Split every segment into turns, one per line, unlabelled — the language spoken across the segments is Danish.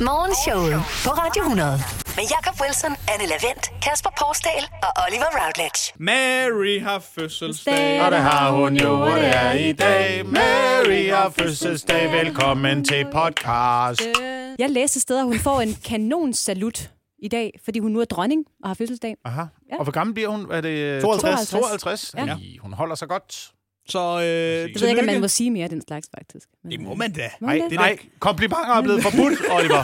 Morgenshowet på Radio 100. Med Jakob Wilson, Anne Lavendt, Kasper Porsdal og Oliver Routledge.
Mary har fødselsdag.
Og det har hun jo, og det er i dag. Mary har fødselsdag. Velkommen til podcast.
Jeg læste et sted, at hun får en kanonsalut i dag, fordi hun nu er dronning og har fødselsdag.
Aha.
Ja.
Og hvor gammel bliver hun? Er det
52.
52?
Ja.
Ej, Hun holder sig godt.
Så øh,
Jeg ved ikke, om
tillykke.
man må sige mere af den slags, faktisk. Men,
Det
øh,
må man da.
må
Nej,
man det?
nej, komplimenter er blevet forbudt, Oliver.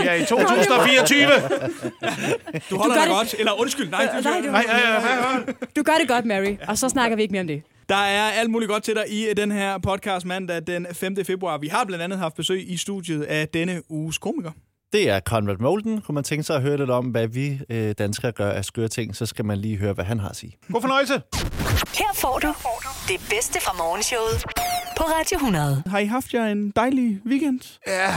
Vi er i 2024.
Du holder dig
det-
godt. Eller undskyld, nej.
Øh, nej, det
Nej, ja, ja, ja, ja.
Du gør det godt, Mary, og så snakker vi ikke mere om det.
Der er alt muligt godt til dig i øh, den her podcast mandag den 5. februar. Vi har blandt andet haft besøg i studiet af denne uges komiker.
Det er Conrad Molden. Kunne man tænke sig at høre lidt om, hvad vi øh, danskere gør af skøre ting, så skal man lige høre, hvad han har at sige.
God fornøjelse.
Her får du det bedste fra morgenshowet på Radio 100.
Har I haft jer en dejlig weekend?
Ja.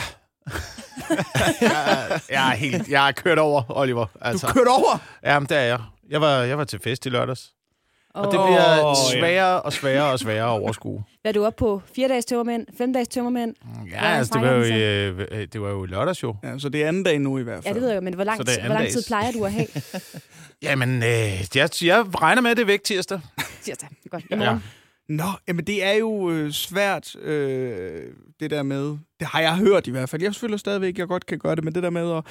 jeg, er- jeg, er helt, jeg er kørt over, Oliver. Altså.
Kørt over?
Jamen, det er jeg. Jeg var, jeg var til fest i lørdags. Og det
Åh.
bliver
Åh, ja.
sværere og sværere og sværere at overskue.
Hvad er du oppe på? Fire dages tømmermænd? Fem dages tømmermænd?
Ja, altså, det var jo, i, øh, øh, det var jo i lørdags jo.
Ja, så det er anden dag nu i hvert fald.
Ja, det ved jeg, men hvor lang,
Så det er
hvor lang tid
andendags.
plejer du at have?
Jamen, øh, jeg, jeg regner med, at det er væk tirsdag.
Tirsdag. Godt. I morgen.
Nå, jamen det er jo øh, svært, øh, det der med, det har jeg hørt i hvert fald. Jeg føler stadigvæk, at jeg godt kan gøre det, men det der med at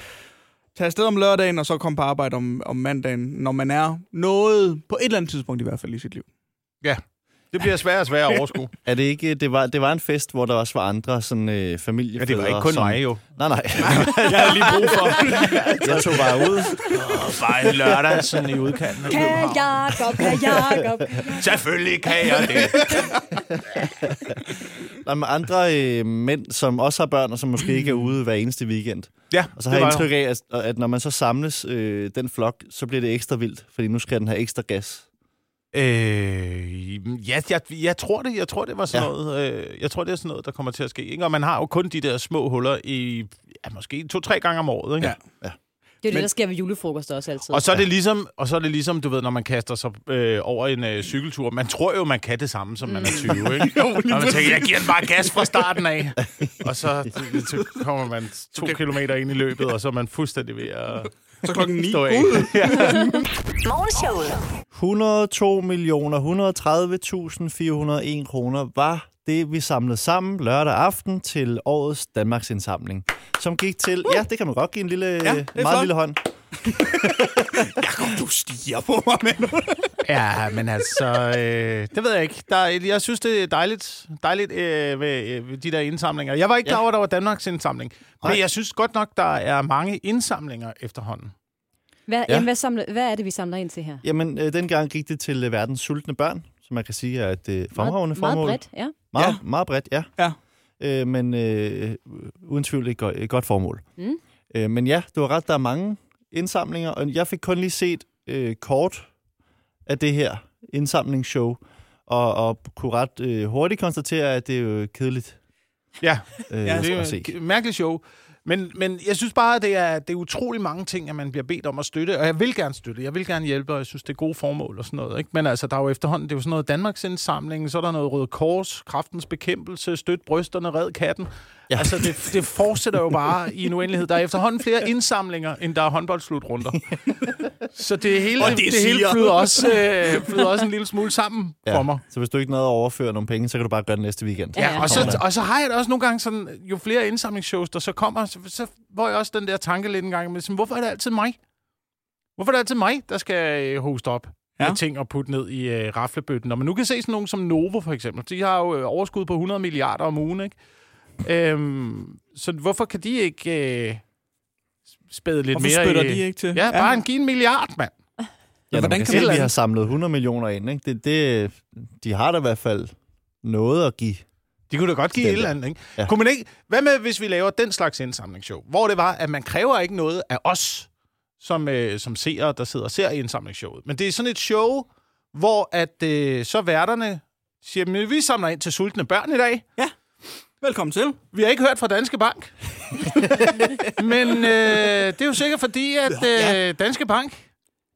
tage afsted om lørdagen, og så komme på arbejde om, om mandagen, når man er noget, på et eller andet tidspunkt i hvert fald i sit liv.
Ja. Det bliver sværere og sværere at overskue.
Er det ikke... Det var, det var en fest, hvor der også var andre sådan, øh, familiefædre.
Ja, det var ikke kun
som...
mig jo.
Nej, nej.
Jeg havde lige brug for
Jeg tog bare ud.
bare en lørdag sådan i udkanten af
Kan
København.
Jacob, kan Jacob.
Selvfølgelig kan jeg det.
Der er andre øh, mænd, som også har børn, og som måske ikke er ude hver eneste weekend.
Ja,
Og så har jeg
det var
indtryk af, at, at når man så samles øh, den flok, så bliver det ekstra vildt, fordi nu skal den have ekstra gas.
Øh, ja, jeg, jeg tror det. Jeg tror, det var sådan ja.
Ja.
noget, øh, jeg tror, det er sådan noget, der kommer til at ske. Ikke? Og man har jo kun de der små huller i ja, måske to-tre gange om året. Ikke?
Ja.
Ja.
Det er
Men-
jo det, der sker ved julefrokost også altid.
Og så er det ligesom, og så er det ligesom, du ved, når man kaster sig øh, over en øh, cykeltur. Man tror jo, man kan det samme, som man er 20, ikke? jo, og man tænker, jeg giver den bare gas fra starten af. og så, så kommer man to kilometer ind i løbet, og så er man fuldstændig ved at
Så klokken 9.
stå af.
Morgenshowet.
102 millioner 130.401 kroner var det, vi samlede sammen lørdag aften til årets Danmarks indsamling, som gik til... Ja, det kan man godt give en lille, ja, meget
det er flot.
lille hånd.
Du stiger på mig, men...
Ja, men altså, øh, det ved jeg ikke. Der, er- jeg synes, det er dejligt, dejligt øh, ved, øh, ved de der indsamlinger. Jeg var ikke klar over, at der var Danmarks indsamling. Men
Nej.
jeg synes godt nok, der er mange indsamlinger efterhånden.
Hvad, ja.
Ja.
jamen, hvad, samler, hvad er det, vi samler ind til her?
Jamen, øh, dengang gik det til øh, verdens sultne børn, som man kan sige er et øh,
meget,
fremragende
meget
formål.
bredt, ja.
Meget, ja. meget bredt, ja.
Ja.
Øh, men øh, uden tvivl et godt, et godt formål. Mm. Øh, men ja, du har ret, der er mange indsamlinger, og jeg fik kun lige set øh, kort af det her indsamlingsshow, og, og kunne ret øh, hurtigt konstatere, at det er jo kedeligt
Ja,
øh,
Ja,
ja,
det er
at
jo
se.
et mærkeligt show. Men, men jeg synes bare, at det er, det er utrolig mange ting, at man bliver bedt om at støtte. Og jeg vil gerne støtte, jeg vil gerne hjælpe, og jeg synes, det er gode formål og sådan noget. Ikke? Men altså, der er jo efterhånden, det er jo sådan noget Danmarks indsamling, så er der noget Røde Kors, Kraftens Bekæmpelse, Støt Brysterne, Red Katten. Ja. Altså, det, det fortsætter jo bare i en uendelighed. Der er efterhånden flere indsamlinger, end der er håndboldslutrunder. så det hele,
Og
det
det
det hele
siger.
flyder, også, øh, flyder også en lille smule sammen ja. for mig.
Så hvis du ikke nåede at overføre nogle penge, så kan du bare gøre det næste weekend.
Ja,
Ja,
ja.
og så,
Sådan.
og så har jeg det også nogle gange sådan, jo flere indsamlingsshows, der så kommer, så, så får jeg også den der tanke lidt en gang, men sådan, hvorfor er det altid mig? Hvorfor er det altid mig, der skal øh, hoste op
Ja.
ja. af ting og putte ned i øh, raflebøtten? Når man nu kan se sådan nogen som Novo, for eksempel, de har jo øh, overskud på 100 milliarder om ugen, ikke? Øhm, så hvorfor kan de ikke øh, spæde lidt
Hvorfor
mere
spytter
i...
de ikke til?
Ja, bare en, give en milliard, mand.
Ja,
hvordan
hvordan
kan
kan se,
man-
at vi har samlet 100 millioner ind. Ikke? Det, det, de har da i hvert fald noget at give.
De kunne da godt give et
Den
eller
der.
andet, ikke? Ja.
Ja.
Kunne man ikke? Hvad med, hvis vi laver den slags indsamlingsshow, hvor det var, at man kræver ikke noget af os, som, øh, som seere, der sidder og ser indsamlingsshowet. Men det er sådan et show, hvor at, øh, så værterne siger, men vi samler ind til sultne børn i dag.
Velkommen til.
Vi har ikke hørt fra Danske Bank. men øh, det er jo sikkert fordi, at øh, Danske Bank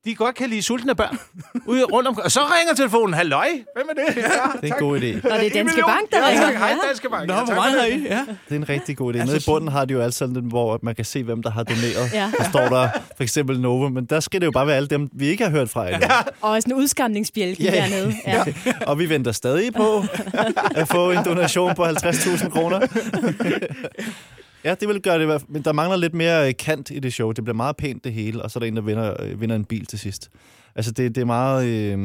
de godt kan lide sultne børn. Ude rundt om, og så ringer telefonen, halløj, hvem er det? Ja,
Det er en god idé.
Og det er Danske Bank, der
ja,
ringer.
tak, hej,
Ja.
Danske Bank.
Nå,
ja,
hvor
tak.
meget har I? Ja.
Det er en rigtig god idé. Nede
Altså,
i bunden har de jo altid den, hvor at man kan se, hvem der har doneret.
Ja.
ja. Der står der for eksempel Nova, men der skal det jo bare være alle dem, vi ikke har hørt fra endnu. Ja.
Og sådan en udskamningsbjælke
Ja, ja.
dernede. Ja.
Og vi venter stadig på at få en donation på 50.000 kroner. ja, det vil gøre det i hvert fald. Men der mangler lidt mere øh, kant i det show. Det bliver meget pænt det hele, og så er der en, der vinder, øh, vinder en bil til sidst. Altså, det, det er meget... Øh,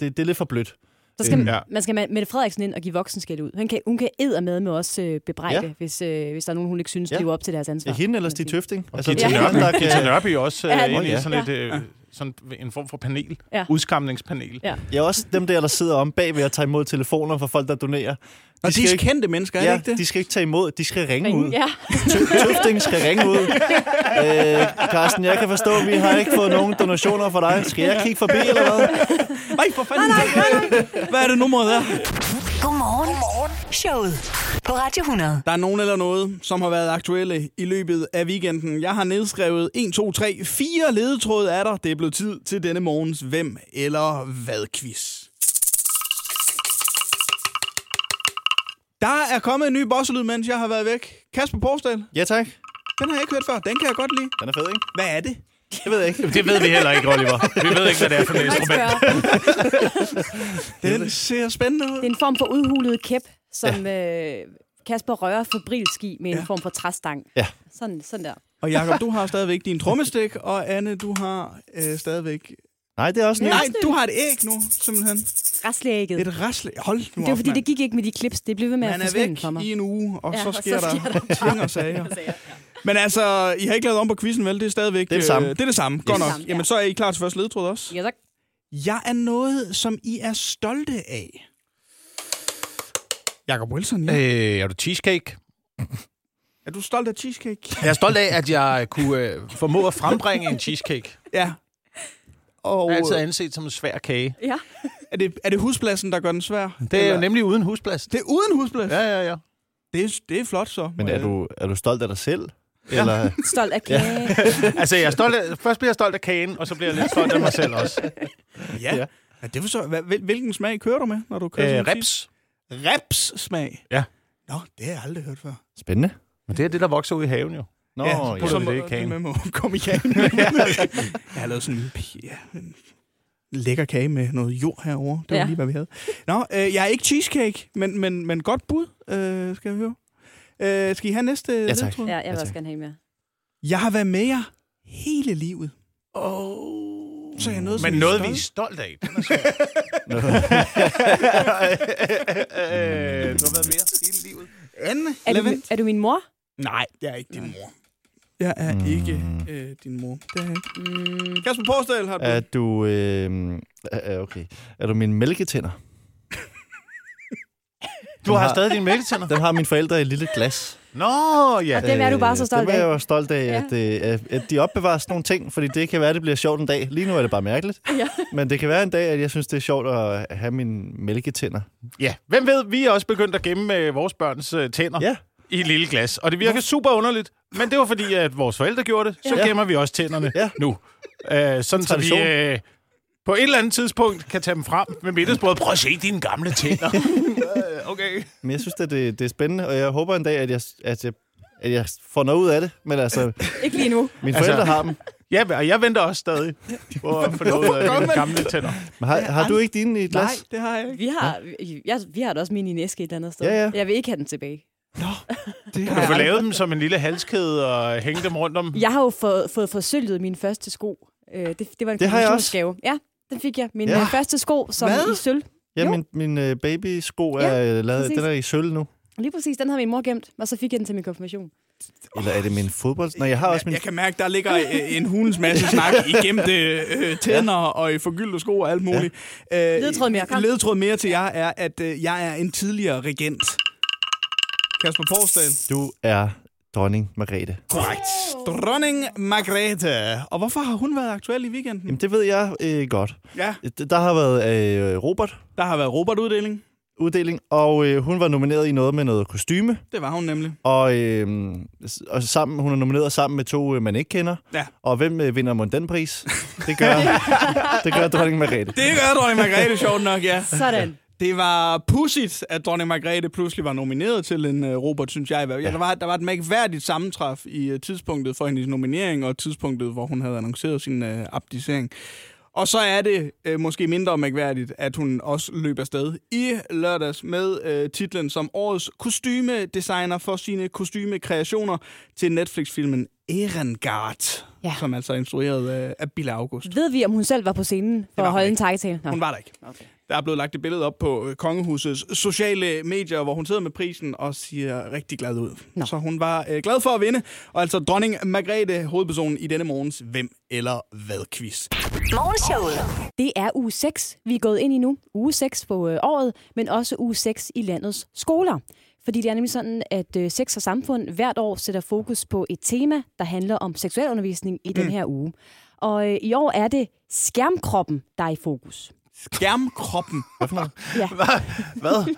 det, det er lidt for blødt.
Så skal
Øhm,
man,
ja.
man skal med Mette Frederiksen ind og give voksenskæld ud. Hun kan, hun kan edder med med os øh, bebrejde, ja.
Ja.
hvis, øh, hvis der er nogen, hun ikke synes, ja.
Ja.
lever op til deres ansvar.
Ja, hende eller Stig
kan man sige.
Tøfting. Altså,
Og Gita
Ja.
Nørby,
der
Gita
kan,
Nørby også
Ja,
ja,
det-
inde i sådan,
ja.
et, øh, sådan en form for panel.
Ja.
Ja. Udskamningspanel.
Ja.
ja, også dem der, der sidder om bagved og tager imod telefoner fra folk, der donerer.
Og de
skal
er
ikke-
kendte mennesker, er
ja,
det ikke det?
de skal ikke tage imod, de skal ringe, ringe. ud.
Ja.
Tø- Tøfting skal ringe ud. Øh, Carsten, jeg kan forstå, at vi har ikke fået nogen donationer fra dig. Skal jeg kigge forbi eller hvad?
Nej, for fanden. Nej, nej, nej. Hvad er det nummeret er?
Godmorgen. Godmorgen. Showet på Radio 100.
Der er nogen eller noget, som har været aktuelle i løbet af weekenden. Jeg har nedskrevet 1, 2, 3, 4 ledetråde af dig. Det er blevet tid til denne morgens Hvem eller Hvad-quiz. Der er kommet en ny bosselyd, mens jeg har været væk. Kasper Porsdal,
Ja tak.
den har jeg ikke hørt før. Den kan jeg godt lide.
Den er fed, ikke?
Hvad er det?
Det ved jeg ikke.
Det ved vi heller ikke, Oliver. Vi ved ikke, hvad det er for et
Man kan
instrument.
spørge.
Den ser spændende ud.
Det er en form for udhulet kæp, som ja. øh, Kasper rører fabrilsk i med en
Ja.
form for træstang.
Ja.
Sådan, sådan der.
Og Jakob, du har stadigvæk din trommestik, og Anne, du har øh, stadigvæk...
Nej, det er også nyt.
Nej, du har et æg nu, simpelthen.
Raslægget.
Et rasle. Hold nu
Det var
op,
fordi,
mand.
det gik ikke med de klips. Det blev ved med
Man
at
er
forsvinde for
væk
mig.
i en uge, og
Ja,
ja, så
og så
sker der
sker der-
ting og sager. Men altså, I har ikke lavet om på quizzen, vel? Det er stadigvæk...
Det er det samme.
øh, det er det samme, godt
Det er
nok.
det samme, ja.
Jamen, så er I klar til første ledtråd også.
Ja, tak.
Jeg er noget, som I er stolte af. Jakob Wilson, ja.
Øh, er du cheesecake?
Er du stolt af cheesecake?
Jeg er stolt af, at jeg kunne øh, formå at frembringe en cheesecake.
Ja. Og
Jeg er altid
øh,
anset som Altså, en svær kage.
Ja.
er, det, er det huspladsen, der gør den svær?
Det er jo
Eller-
nemlig uden husplads.
Det er uden husplads?
Ja, ja, ja.
Det, er, det er flot, så.
Men er
Øh,
du, er du stolt af dig selv? Eller
Stolt af kage.
Altså, jeg er stolt af, først bliver jeg stolt af kagen, og så bliver jeg lidt stolt af mig selv også.
Ja. ja.
Ja.
ja det forstår jeg. Hvad- hvil- Hvilken smag kører du med, når du kører
Øh,
sådan en
reps.
cheese? Reps-smag?
Ja.
Nå, det har jeg aldrig hørt før.
spændende?
Men det er det, der vokser ud i haven jo.
Nå,
ja, så
ja.
putter
ja.
du
Det er
det i kagen.
kagen.
med må komme i kagen. jeg har lavet sådan en, ja, en lækker kage med noget jord herover. Det var
Ja.
ja. lige, hvad vi havde. Nå, øh, jeg er ikke cheesecake, men, men, men godt bud, øh, skal vi høre. Øh, skal I have næste
tak.
ledtråd?
Ja, jeg vil
tak.
også gerne have en mere.
Jeg har været med jer hele livet. Oh. Så er jeg noget, som
Men
I er
noget,
stolte
vi er stolt af. Den er svær. øh, du har været mere hele livet.
Anne
Er du,
Levent?
er du min mor?
Nej, jeg er ikke din mor. Jeg er mm. ikke øh, din mor. Det er jeg ikke.
Mm,
Kasper Porsdal har du.
Er du... Øh, øh, okay. Er du min mælketænder?
Du har stadig dine mælketænder.
Den har mine forældre i et lille glas.
Nå, ja.
Dem er du bare så
Øh,
stolt
Dem er
af.
jeg jo stolt af,
Ja.
at, øh, at- at de opbevarer sådan nogle ting, fordi det kan være, at det bliver sjovt en dag. Lige nu er det bare mærkeligt.
Ja.
Men det kan være en dag, at jeg synes, det er sjovt at have mine mælketænder.
Ja, hvem ved, vi er også begyndt at gemme øh, vores børns øh, tænder
Ja.
i et lille glas. Og det virker super underligt, men det var fordi, at vores forældre gjorde det. Så
Ja.
gemmer vi også tænderne
Ja.
nu. Øh, sådan så vi
Tradition.
øh, på et eller andet tidspunkt kan tage dem frem med middagsbordet. Prøv at se dine gamle tænder. Øh, okay.
Men jeg synes, at det, det er spændende, og jeg håber en dag, at jeg, at jeg, at jeg får noget ud af det. Men altså,
ikke lige nu.
mine
Altså-
forældre har dem.
Ja, og jeg venter også stadig på at få noget af mine gamle tænder.
Men har, har du ikke dine i et
Nej,
glas?
det har jeg ikke.
Vi har, vi, jeg, vi har da også min i en æske et eller andet sted.
Ja, ja.
Jeg vil ikke have den tilbage.
Det
Kan
har
du få
jeg
lavet dem som en lille halskæde og hænge dem rundt om?
Jeg har jo fået, fået forsølvet min første sko. Øh, det, det var en
Det har jeg også.
konfirmationsgave. Ja, den fik jeg. Min
Ja.
ja. første sko, som
Hvad?
i sølv.
Ja,
Jo.
min, min øh, babysko er
Ja,
ja, lavet,
præcis.
den er i sølv nu.
Lige præcis, den havde min mor gemt, og så fik jeg den til min konfirmation.
Eller er det min fodbold? Nej, jeg har også min...
Jeg kan mærke, der ligger øh, en hulens masse snak igennem det, øh, tænder og i forgyldte sko og alt muligt. Ja.
Ledtråd mere, kom.
Ledtråd mere til jer er, at øh, jeg er en tidligere regent. Kasper Porsdal.
Du er dronning Margrethe.
Korrekt. Dronning Margrethe. Og hvorfor har hun været aktuel i weekenden?
Jamen, det ved jeg øh, godt.
Ja,
D- Der har været øh, Robert,
der har været Robert-uddeling.
uddeling, og øh, hun var nomineret i noget med noget kostyme,
Det var hun nemlig.
og, øh, og sammen, hun er nomineret sammen med to, øh, man ikke kender.
Ja.
Og hvem øh, vinder mon den pris? Det gør, det gør dronning Margrethe.
Det gør dronning Margrethe sjovt nok, ja.
Sådan.
Det var pudsigt, at dronning Margrethe pludselig var nomineret til en uh, Robert, synes jeg. Ja, der, var, der var et mærkværdigt sammentræf i uh, tidspunktet for hendes nominering og tidspunktet, hvor hun havde annonceret sin uh, abdicering. Og så er det øh, måske mindre mærkværdigt, at hun også løb afsted i lørdags med øh, titlen som årets kostymedesigner for sine kostymekreationer til Netflix-filmen Erengard, ja.
Ja.
som altså er instrueret af, af Bill August.
Ved vi, om hun selv var på scenen for
var
at holde
hun
en takketale? Nå.
Hun var der ikke. Okay. Der er blevet lagt et billede op på øh, kongehusets sociale medier, hvor hun sidder med prisen og ser rigtig glad ud. Nå.
Nå.
Så hun var øh, glad for at vinde, og altså dronning Margrethe, hovedpersonen i denne morgens Hvem eller Hvad-quiz.
Morgenshowet.
Det er uge 6, vi er gået ind i nu. Uge 6 på øh, året, men også uge 6 i landets skoler. Fordi det er nemlig sådan, at øh, Sex og Samfund hvert år sætter fokus på et tema, der handler om seksualundervisning i den her uge. Og øh, i år er det skærmkroppen, der er i fokus.
Skærmkroppen.
Ja.
Hvad?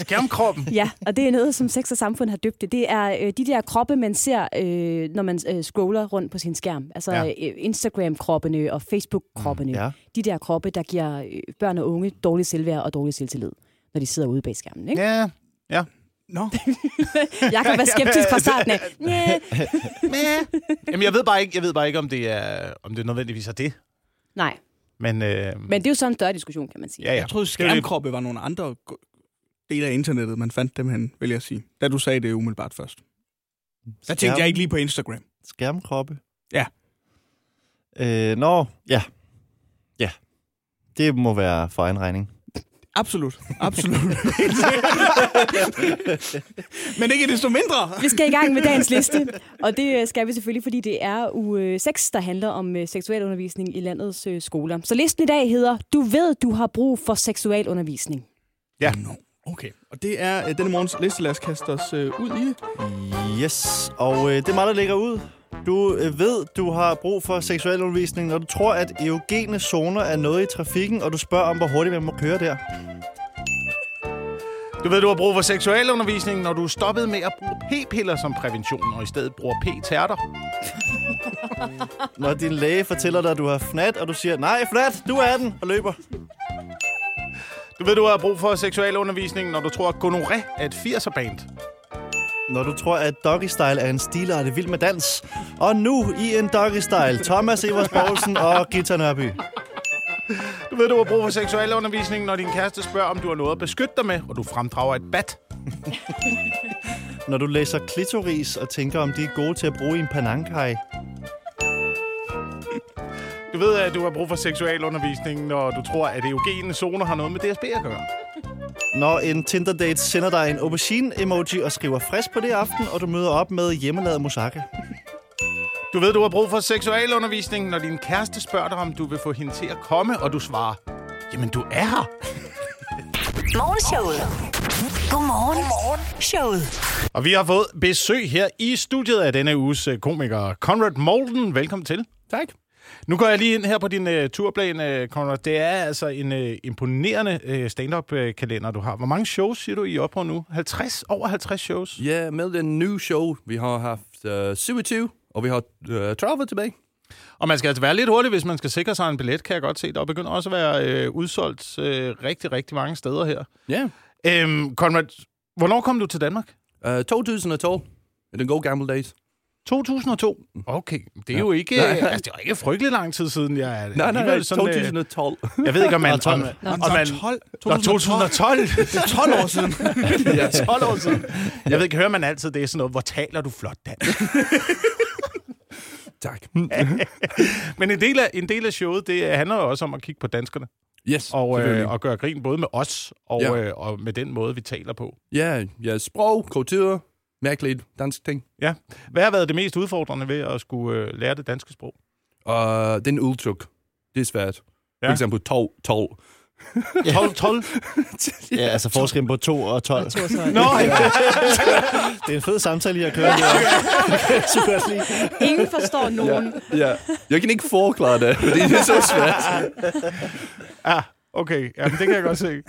Skærmkroppen?
Ja, og det er noget, som Sex og Samfund har døbt det. Det er øh, de der kroppe, man ser, øh, når man øh, scroller rundt på sin skærm. Altså
Ja. Mm,
ja. øh, Instagram-kroppene og Facebook-kroppene.
ja.
De der kroppe, der giver øh, børn og unge dårlig selvværd og dårlig selvtillid, når de sidder ude bag skærmen. Ikke?
Ja. Ja.
Nå,
Jeg kan være skeptisk fra starten af. Næh.
Mæh. Jamen, jeg ved bare ikke, jeg ved bare ikke om, det er, om det nødvendigvis er det.
Nej,
Men, øh,
men det er jo så en større diskussion, kan man sige.
ja, ja.
jeg troede skærmkroppe var nogle andre go- dele af internettet, man fandt dem hen, vil jeg sige. Da du sagde det umiddelbart først. Der tænkte jeg ikke lige på Instagram.
Skærmkroppe?
Ja.
Øh, nå, ja. Ja. Det må være for egen regning.
Absolut, absolut. Men ikke desto mindre.
Vi skal i gang med dagens liste, og det øh, skal vi selvfølgelig, fordi det er uge 6, der handler om øh, seksualundervisning i landets øh, skoler. Så listen i dag hedder, du ved, du har brug for seksualundervisning.
Ja.
Nå, okay. Og det er øh, denne morgens liste. Lad os kaste os øh, ud i det.
Yes, og øh, det er mig, der lægger ud. Du øh, ved, du har brug for seksualundervisning, når du tror, at eugene zoner er noget i trafikken, og du spørger om, hvor hurtigt man må køre der.
Du ved, du har brug for seksualundervisning, når du er stoppet med at bruge p-piller som prævention, og i stedet bruger p-tærter.
Når din læge fortæller dig, at du har fnat, og du siger, nej, fnat, du er den, og løber.
Du ved, du har brug for seksualundervisning, når du tror, at gonoré er et 80'er-band.
Når du tror, at doggy style er en stilart det vild med dans. Og nu i en doggy style, Thomas Evers Poulsen og Gita Nørby.
Du ved, du har brug for seksualundervisning, når din kæreste spørger, om du har noget at beskytte dig med, og du fremdrager et bat.
Når du læser klitoris og tænker, om de er gode til at bruge i en panangkaj.
Du ved, at du har brug for seksualundervisning, når du tror, at eugene zoner har noget med DSB at gøre.
Når en Tinder-date sender dig en aubergine-emoji og skriver frisk på det aften, og du møder op med hjemmelavet moussaka.
Du ved, du har brug for seksualundervisning, når din kæreste spørger dig, om du vil få hende til at komme, og du svarer, jamen du er her.
Morgenshowet. Godmorgen. Godmorgen. Showet.
Og vi har fået besøg her i studiet af denne uges øh, komiker, Conrad Molden. Velkommen til. Tak. Nu går jeg lige ind her på din uh, turplan, uh, Conrad. Det er altså en uh, imponerende uh, stand-up-kalender, du har. Hvor mange shows siger du, I er oppe på nu? 50? Over 50 shows?
Ja, med den nye show, vi har haft øh, 27, og vi har øh, 30 tilbage.
Og man skal altså være lidt hurtig, hvis man skal sikre sig en billet, kan jeg godt se. Der begynder også at være uh, udsolgt uh, rigtig, rigtig mange steder her.
Ja.
Øhm, Conrad, hvornår kom du til Danmark?
Øh, 2012, i den gode gamle days.
2002. Okay, det er jo ikke,
Nej.
altså, det er jo ikke frygtelig lang tid siden. Jeg, er
Nej, nej, nej,
alligevel sådan, øh,
2012.
Jeg ved ikke, om man...
Nå,
Om,
12.
om man
12,
Nå, 2012.
Det er 12 år siden.
Det er 12 år siden. Jeg ved ikke, hører man altid det er sådan noget, hvor taler du flot dansk?
tak.
Men en del, af, en del af showet, det handler jo også om at kigge på danskerne.
Yes,
Og,
selvfølgelig.
øh, og gøre grin både med os og,
Ja.
ja. øh, og med den måde, vi taler på.
Ja, ja, sprog, kultur, mærkeligt dansk ting.
Ja. Hvad har været det mest udfordrende ved at skulle øh, lære det danske sprog?
Og den udtryk, det er svært. Ja.
Ja.
For eksempel 12, 12.
12, 12.
Ja, altså forskellen på 2 og 12. Det
Nå, ja.
er en fed samtale, I har kørt. her. Super lige.
Ingen forstår nogen.
Ja. Jeg kan ikke forklare det, fordi det er så svært.
ja. Okay, jamen, det kan jeg godt se.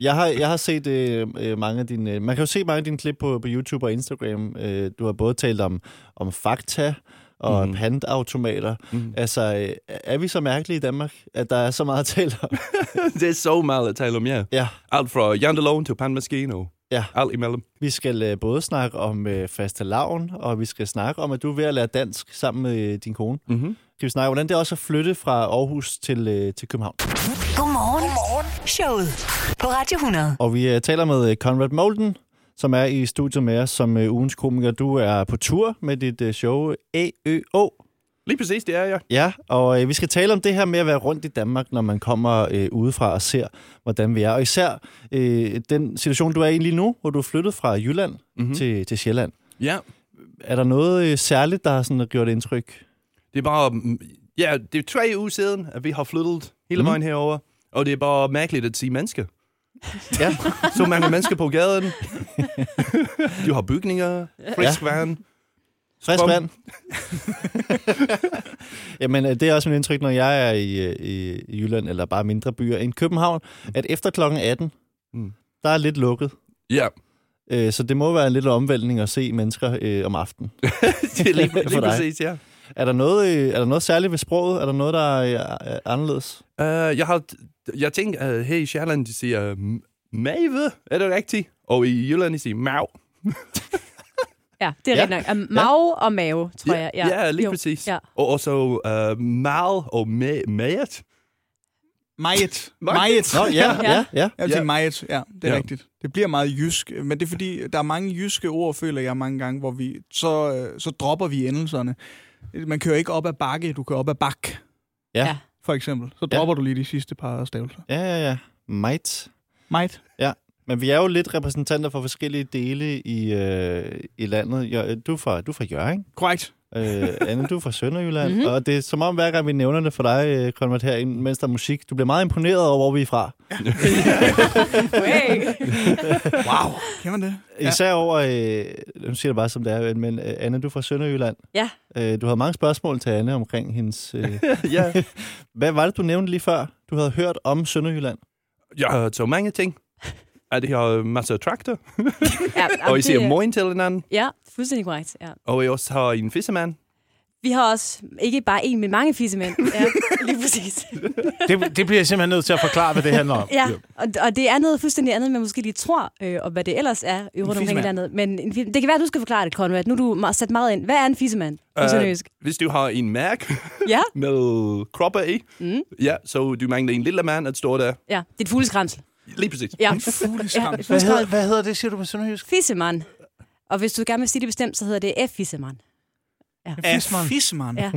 Jeg har, jeg har set øh, øh, mange af dine... Øh, man kan jo se mange af dine klip på, på YouTube og Instagram. Øh, du har både talt om, om fakta og mm. pantautomater. Mm. Altså, øh, er vi så mærkelige i Danmark, at der er så meget at tale om?
det er så meget at tale om, ja.
ja,
Alt fra Jandelone til Pan Maschino.
Ja.
Alt imellem.
vi skal øh, både snakke om øh, faste lavn, og vi skal snakke om, at du er ved at lære dansk sammen med øh, din kone.
Mm-hmm.
Skal vi snakke om, hvordan det er også at flytte fra Aarhus til, øh, til København?
Godmorgen. Godmorgen. Showet på Radio 100.
Og vi øh, taler med øh, Conrad Molden, som er i studiet med os som øh, ugens komiker. Du er på tur med dit øh, show AØO.
Lige præcis, det er jeg.
Ja, og øh, vi skal tale om det her med at være rundt i Danmark, når man kommer øh, udefra og ser, hvordan vi er. Og især øh, den situation, du er i lige nu, hvor du er flyttet fra Jylland
Mhm.
mm-hmm. til, til Sjælland.
Ja.
Er der noget øh, særligt, der har sådan, gjort indtryk?
Det er bare... mm, Ja, det er tre uger siden, at vi har flyttet hele
Mhm.
vejen herover. Og det er bare mærkeligt at se mennesker.
Ja.
Så mange mennesker på gaden. du har bygninger, frisk ja. vand.
Frisk
Strøm.
vand. Jamen, øh, det er også mit indtryk, når jeg er i, øh, i i Jylland, eller bare mindre byer end København, at efter klokken 18,
Mm.
der er lidt lukket.
Ja,
Øh, Så det må være en lidt omvæltning at se mennesker øh, om aftenen.
det er lige,
For
lige
dig.
præcis, ja.
Er der, noget, øh, er der noget særligt ved sproget? Er der noget, der er, er anderledes?
Uh, jeg har, jeg tænker, uh, her i Sjælland, de siger uh, mave, er det rigtigt? Og i Jylland, de siger mav.
Ja, det er
Ja.
ja. rigtigt nok. Um, mave og mave, tror jeg.
ja, ja, lige
Jo.
præcis.
Ja.
Og også uh, mal og ma- maet.
Majet.
Majet.
Majet.
Nå, ja,
Ja.
ja, ja.
Jeg vil sige
Ja.
meget, ja, det er
Ja.
ja. rigtigt. Det bliver meget jysk, men det er fordi, der er mange jyske ord, føler jeg mange gange, hvor vi, så, øh, så dropper vi endelserne. Man kører ikke op ad bakke, du kører op ad bak,
Ja,
Ja.
for eksempel. Så
Ja.
dropper ja. du lige de sidste par stavelser.
ja, ja. ja. Might.
Meget.
Men vi er jo lidt repræsentanter for forskellige dele i, øh, i landet. Jo, Du er fra, du er fra Jørgen.
Korrekt.
Øh, Anne, du er fra Sønderjylland.
Mhm.
Mm-hmm. Og det er som om, hver gang vi nævner det for dig, øh, Conrad, her, mens der er musik, du bliver meget imponeret over, hvor vi er fra.
Hey.
Wow. Kan man det? Ja.
Især over, øh, nu siger jeg det bare, som det er, men øh, Anne, du er fra Sønderjylland.
Ja.
Øh, du havde mange spørgsmål til Anne omkring hendes... Øh,
ja.
hvad var det, du nævnte lige før? Du havde hørt om Sønderjylland.
Jeg har så mange ting. At jeg har øh, masser af traktor,
Ja,
og I
det-
siger morgen til hinanden,
Ja, fuldstændig korrekt. Ja.
og I også har en fiskemand.
Vi har også ikke bare en, men mange fissemænd. Ja, lige præcis.
Det, det bliver jeg simpelthen nødt til at forklare, hvad det handler om.
Ja, og, og det er noget fuldstændig andet, end man måske lige tror, øh, og hvad det ellers er i rundt omkring i
fissemand.
landet. Men en, fi- det kan være, at du skal forklare det, Conrad. Nu er du ma- sat meget ind. Hvad er en fissemand?
Øh,
Uh,
Hvis du har en mærk
ja,
med kroppe i,
Mm.
ja, så du mangler en lille mand at stå der.
ja, dit fugleskramsel.
Lige præcis.
Ja.
Fugleskram.
Ja.
Hvad hedder, hvad hedder det, siger du på sønderjysk?
Fissemand. Og hvis du gerne vil sige det bestemt, så hedder det F-fissemand.
Fisman. Fisman.
Ja.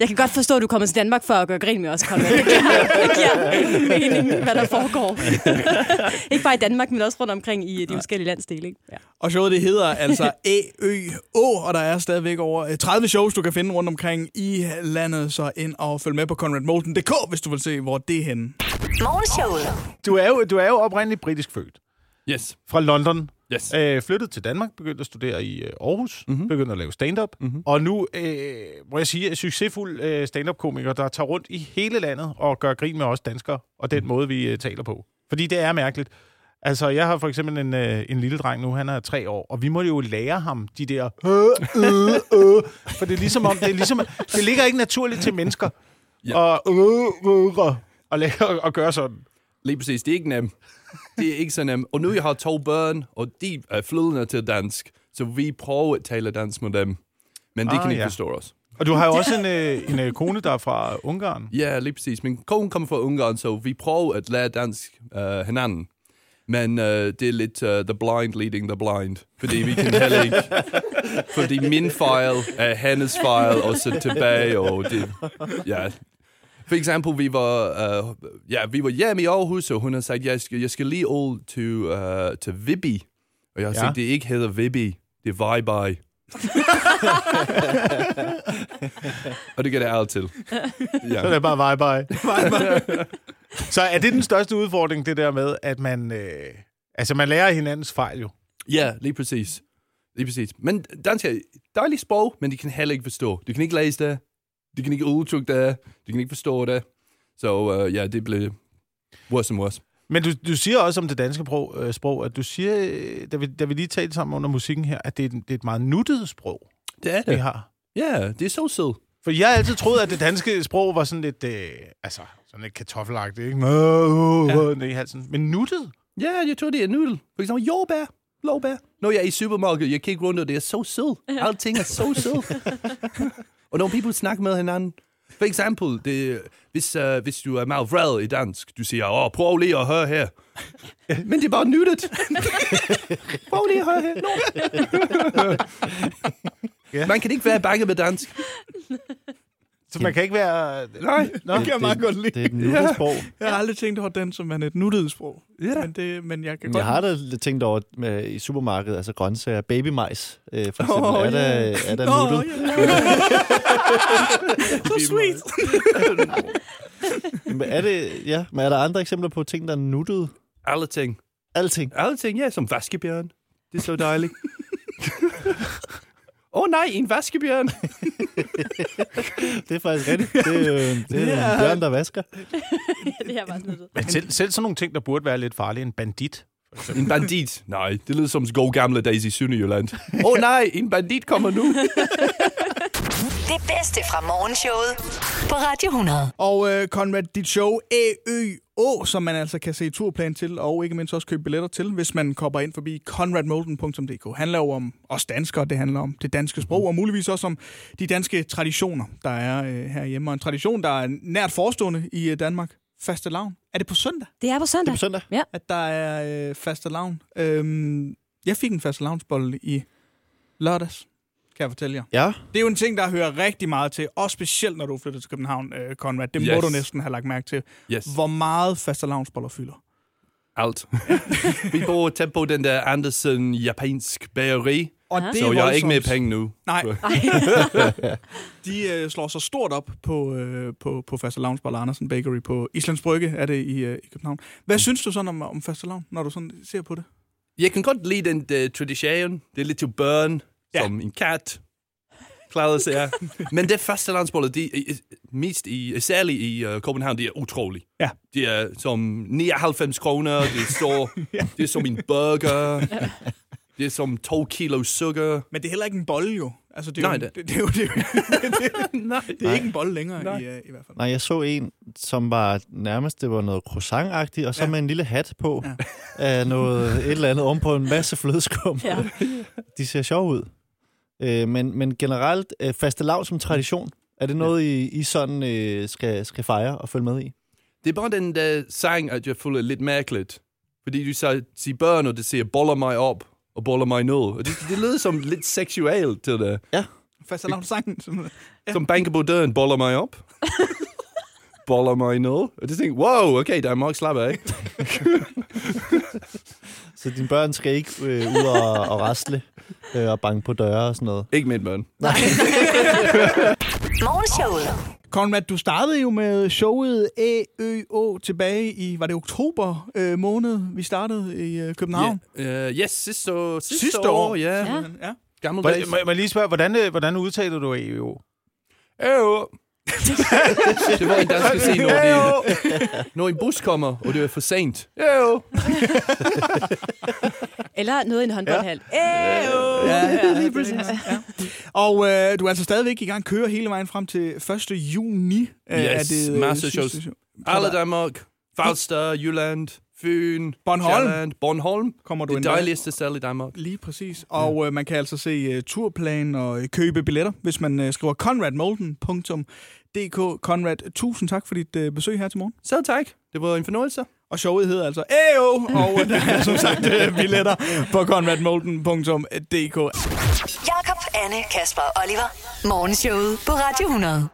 Jeg kan godt forstå, at du kommer til Danmark for at gøre grin med os, Conrad. Det giver- det giver mening, hvad der foregår. ikke bare i Danmark, men også rundt omkring i de forskellige landsdele. Ikke? Ja.
Og showet, det hedder altså Æ, Ø, Å, og der er stadigvæk over øh, 30 shows, du kan finde rundt omkring i landet, så ind og følg med på conradmolten.dk, hvis du vil se, hvor det er henne.
Morgenshowet.
Du er jo, du er jo oprindeligt britisk født.
Yes,
Fra London.
yes.
Øh, flyttet til Danmark, begyndte at studere i øh, Aarhus, mm-hmm. begyndte at lave stand-up, mm-hmm. og nu øh, må jeg sige, er succesfuld øh, stand-up-komiker, der tager rundt i hele landet og gør grin med os danskere, og den måde, vi øh, taler på. Fordi det er mærkeligt. Altså, jeg har for eksempel en, øh, en lille dreng nu, han er tre år, og vi må jo lære ham de der øh, øh, øh, for det er ligesom om, det, er ligesom, det ligger ikke naturligt til mennesker
Ja.
ja. og, øh, øh, øh, og, lave, og gøre sådan.
Lige præcis, det er ikke nemt. Det er ikke så nemt. Og nu jeg har to børn, og de er flydende til dansk, så vi prøver at tale dansk med dem. Men de ah,
Ah,
kan ikke ja.
ja.
forstå os.
Og du har jo også en, øh, en øh, kone, der er fra Ungarn.
Ja, lige præcis. Min kone kommer fra Ungarn, så vi prøver at lære dansk uh, hinanden. Men uh, det er lidt uh, the blind leading the blind, fordi vi kan heller ikke... fordi min fejl er hendes fejl, og så tilbage, og det... Ja. For eksempel, vi var, uh, ja, vi var hjemme i Aarhus, og hun har sagt, jeg skal, jeg skal lige over til, uh, til Viby. Og jeg har
Ja.
ja. sagt, det ikke hedder Viby, det er Vejby. og det kan det alt til. Ja.
Så er det bare bye bye. så er det den største udfordring, det der med, at man... Øh, altså, man lærer hinandens fejl jo.
Ja, lige præcis. Lige præcis. Men dansk er et dejligt sprog, men de kan heller ikke forstå. Du kan ikke læse det, du kan ikke udtrykke det, du kan ikke forstå det. Så øh, ja, det blev Worse and worse.
Men du, du siger også om det danske sprog, øh, sprog at du siger, øh, da vi, da vi lige talte sammen under musikken her, at det er, et- det er et meget nuttet sprog,
Det er
ja. vi
det.
har.
Ja, det er så sød.
For jeg har altid troet, at det danske sprog var sådan lidt, øh, altså, sådan lidt kartoffelagtigt, ikke? Nå, øh, øh, ned i halsen. Men nuttet?
Ja, jeg tror, det er nudel. For eksempel jordbær, blåbær. Når jeg er i supermarkedet, jeg kigger rundt, og det er så sødt. Alting er så sødt. og når people snakker med hinanden, for eksempel, det, hvis, uh, hvis du er meget vred i dansk, du siger, åh, prøv lige at høre her. Men det er bare nyttet. prøv lige at høre her. No. Man kan ikke være bange med dansk.
Så man kan ikke være...
Nej.
Nå,
kan jeg meget godt lide.
Det er et nuttet sprog.
Jeg har aldrig tænkt over den som er et nuttet sprog.
Ja.
Men, det, men jeg kan
Men
godt...
Jeg har da lidt tænkt over med, i supermarkedet, altså grøntsager, babymajs, øh, for eksempel,
Åh,
oh, er der,
ja.
er der
Nå,
nuttet.
Så sweet.
Men er det, ja, men er der andre eksempler på ting, der er nuttet?
Alle ting.
Alting.
Alle ting, ja, som vaskebjørn. Det er så dejligt. Åh oh, nej, en vaskebjørn.
Det er faktisk rigtigt. Det er, øh, det er
Ja.
yeah. bjørn, der vasker.
det er bare sådan
Men selv, selv sådan nogle ting, der burde være lidt farlige, en bandit.
En bandit? Nej, det lyder som god gamle Daisy i Sønderjylland. Åh oh, nej, en bandit kommer nu.
Det bedste fra morgenshowet på Radio 100.
Og øh, Conrad, dit show AØ, som man altså kan se turplan til, og ikke mindst også købe billetter til, hvis man kommer ind forbi conradmolden.dk. handler jo om os danskere, det handler om det danske sprog, og muligvis også om de danske traditioner, der er øh, herhjemme. Og en tradition, der er nært forestående i øh, Danmark. Faste lavn. Er det på søndag,
Det er på
Det er
søndag.
på søndag.
at der er øh, faste lavn? Øhm, jeg fik en faste lavnsbolle i lørdags, kan jeg fortælle jer.
Ja,
Det er jo en ting, der hører rigtig meget til, og specielt når du flytter til København, øh, Conrad. Det yes. må
Yes.
du næsten have lagt mærke til.
Yes,
Hvor meget fastelavnsboller fylder.
alt. Vi bor tæt på den der Andersen japansk bageri,
Og
Ja.
det
så jeg er ikke med
voldsomt.
penge nu.
Nej,
Ej,
de øh, slår sig stort op på, øh, på, på fastelavnsboller Andersen Bakery på Islands Brygge, er det i, øh, i København. Hvad
Mm.
synes du sådan om, om fastelavn, når du sådan ser på det?
Jeg kan godt lide den uh, tradition. Det er lidt til børn,
Ja.
ja. som en kat. Klarer sig. Men det første landsbolle, de, i- i- mest i, særligt i uh, København, det er utroligt.
Ja.
Det er som 99 kroner, det er, så, det er som en burger, det er som to kilo sukker.
Men det er heller ikke en bolle jo. Altså, det er, jo,
Nej, det-
det, det, er jo, det, er jo,
Nej.
det er ikke en bolle længere
Nej.
i, øh, i hvert fald.
nej, jeg så en, som var nærmest, det var noget croissant og så
Ja.
ja. med en lille hat på af noget, et eller andet om på en masse flødeskum.
ja.
De ser sjov ud. Øh, men, men generelt, øh, faste lav som tradition, er det noget, I, I sådan øh, skal, skal fejre og følge med i?
Det er bare den der sang, at jeg føler lidt mærkeligt. Fordi du så siger børn, og det siger, boller mig op og boller mig ned. Og det, det lyder som lidt seksuelt til det.
Fastelavnssangen, simpelthen.
Som banker på døren, boller mig op. boller mig ned. Og det tænker, wow, okay, der er meget slap af.
Så dine børn skal ikke øh, ud og, og rasle øh, og banke på døre og sådan noget.
Ikke mit børn.
Morgenshowet.
Conrad, du startede jo med showet AØO tilbage i, var det oktober øh, måned, vi startede i øh, København?
Yeah. Uh, yes, sidste år. Sidste,
Sidste år.
år, ja. Yeah.
Ja.
Ja.
Gammeldags.
Hvordan, må, må jeg lige spørge, hvordan, øh, hvordan udtaler du EU?
Øv. det var en dansk scene, når, de, når en bus kommer, og det er for sent. Øv.
Eller noget i en håndboldhal. Ja.
Ja, lige præcis. Ja. Og øh, du er altså stadigvæk i gang kører hele vejen frem til 1. juni. øh, Yes,
Yes, masser af shows. Alle Danmark. Falster, Jylland, Fyn,
Bornholm.
Sjælland, Bornholm.
Kommer du
Det
endda.
dejligste sted i Danmark.
Lige præcis. Og øh, man kan altså se uh, turplan og øh, købe billetter, hvis man øh, skriver conradmolden.dk. Conrad, tusind tak for dit øh, besøg her til morgen.
Så tak. Det var en fornøjelse.
Og showet hedder altså EO, og øh, der er som sagt øh, billetter på conradmolden.dk.
Jakob, Anne, Kasper og Oliver. Morgenshowet på Radio 100.